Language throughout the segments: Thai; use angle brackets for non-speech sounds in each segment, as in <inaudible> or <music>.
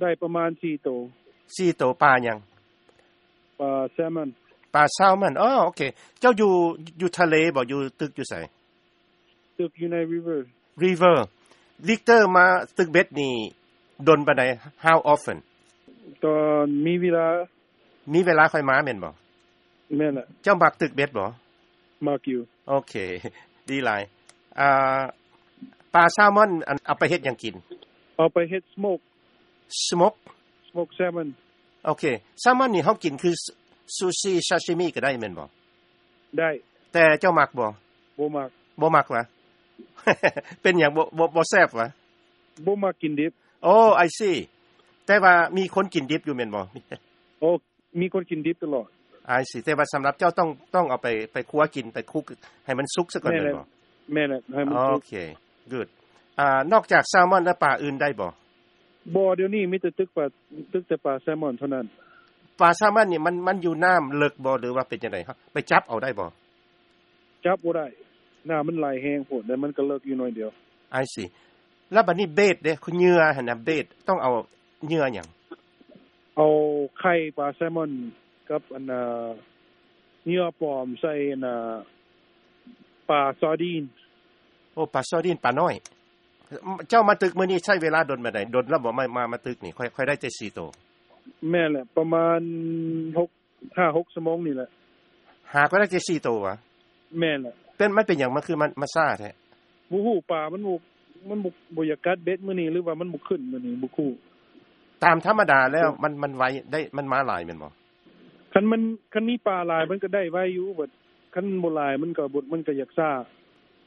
ได้ประมาณ4ตัว สี่ตัวปลาหยัง ปลาแซลมอน ปลาแซลมอนอ๋อโอเค เจ้าอยู่อยู่ทะเลบ่อยู่ตึกอยู่ไส ตึกอยู่ใน river river ลิกเตอร์มาตึกเบ็ดนี่ดนปานใด how often ตอนมีเวลา มีเวลาค่อยมาแม่นบ่ แม่นล่ะ เจ้ามักตึกเบ็ดบ่ มักอยู่ โอเค <laughs> ดีหลายอ่าปลาแซลมอนอันเอาไปเฮ็ดหยังกิน เอาไปเฮ็ด smoke smoke smoke salmon โอเคแซลมอนนี่เฮากินคือซูชิซาชิมิก็ได้แม่นบ่ ได้ แต่เจ้ามักบ่ บ่มัก บ่มักวะ <laughs> เป็นหยังบ่บ่บ่แซ่บวะ บ่มักกินดิบ โอ้ไอซี่แต่ว่ามีคนกินดิบอยู่แม่นบ่ โอ้มีคนกินดิบตลอด ไอซี่แต่ว่าสำหรับเจ้าต้องต้องเอาไปไปคั่วกินไปคลุกให้มันสุกซะก่อน แม่ แม่ เลย นบ่ แม่นล่ะให้มัน โอ สุก เค good อ่านอกจากแซลมอนและปลาอื่นได้บ่ บ่เดี๋ยวนี้มีแต่ตึกปลาตึกแต่ปลาแซลมอนเท่านั้น ปลาแซลมอนนี่มันมันอยู่น้ำเลิกบ่หรือว่าเป็นจังได๋ครับไปจับเอาได้บ่ จับบ่ได้หน้ามันไหลายแฮงโพดแล้วมันก็เลิกอยู่หน่อยเดียว ไอซี่แล้วบัดนี้เบสเด้คุณเหยื่อหั่นน่ะเบสต้องเอาเหยื่อหยัง เอาไข่ปลาแซลมอนกับอันน่ะเนื้อปลอมใส่อันน่ะปลาซอร์ดีน โอ้ปลาซอดินปลาน้อย เจ้ามาตึกมื้อนี้ใช้เวลาดนบ่ได้ดนแล้วบ่มามามาตึกนี่ค่อยค่อยได้แต่4โตว แม่นแหละประมาณ6 5 6ชั่วโมงนี่แหละ หาก็ได้แต่4โตววะ แม่นแหละ เป็นมันเป็นหยังมันคือมันมาซ่าแท้ บ่ฮู้ปลามันบ่มันบ่บ่อยากกัดเบ็ดมื้อนี้หรือว่ามันบ่ขึ้นมื้อนี้บ่คู่ ตามธรรมดาแล้วมันมันไวได้มันมาหลายแม่นบ่ คันมันคันมีปลาหลายมันก็ได้ไว้อยู่บัดคันบ่หลายมันก็บ่มันก็อยากซ่า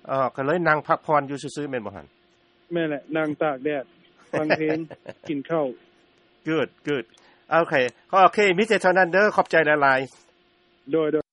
เออก็เลยนั่งพักพรอยู่ซื่อๆแม่นบ่หั่น แม่นแหละนั่งตากแดดฟังเพลง กินข้าว good good โอเคก็โอเคมิเตเท่านั้นเด้อขอบใจหลายๆ โดย